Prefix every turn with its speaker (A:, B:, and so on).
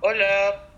A: Hola.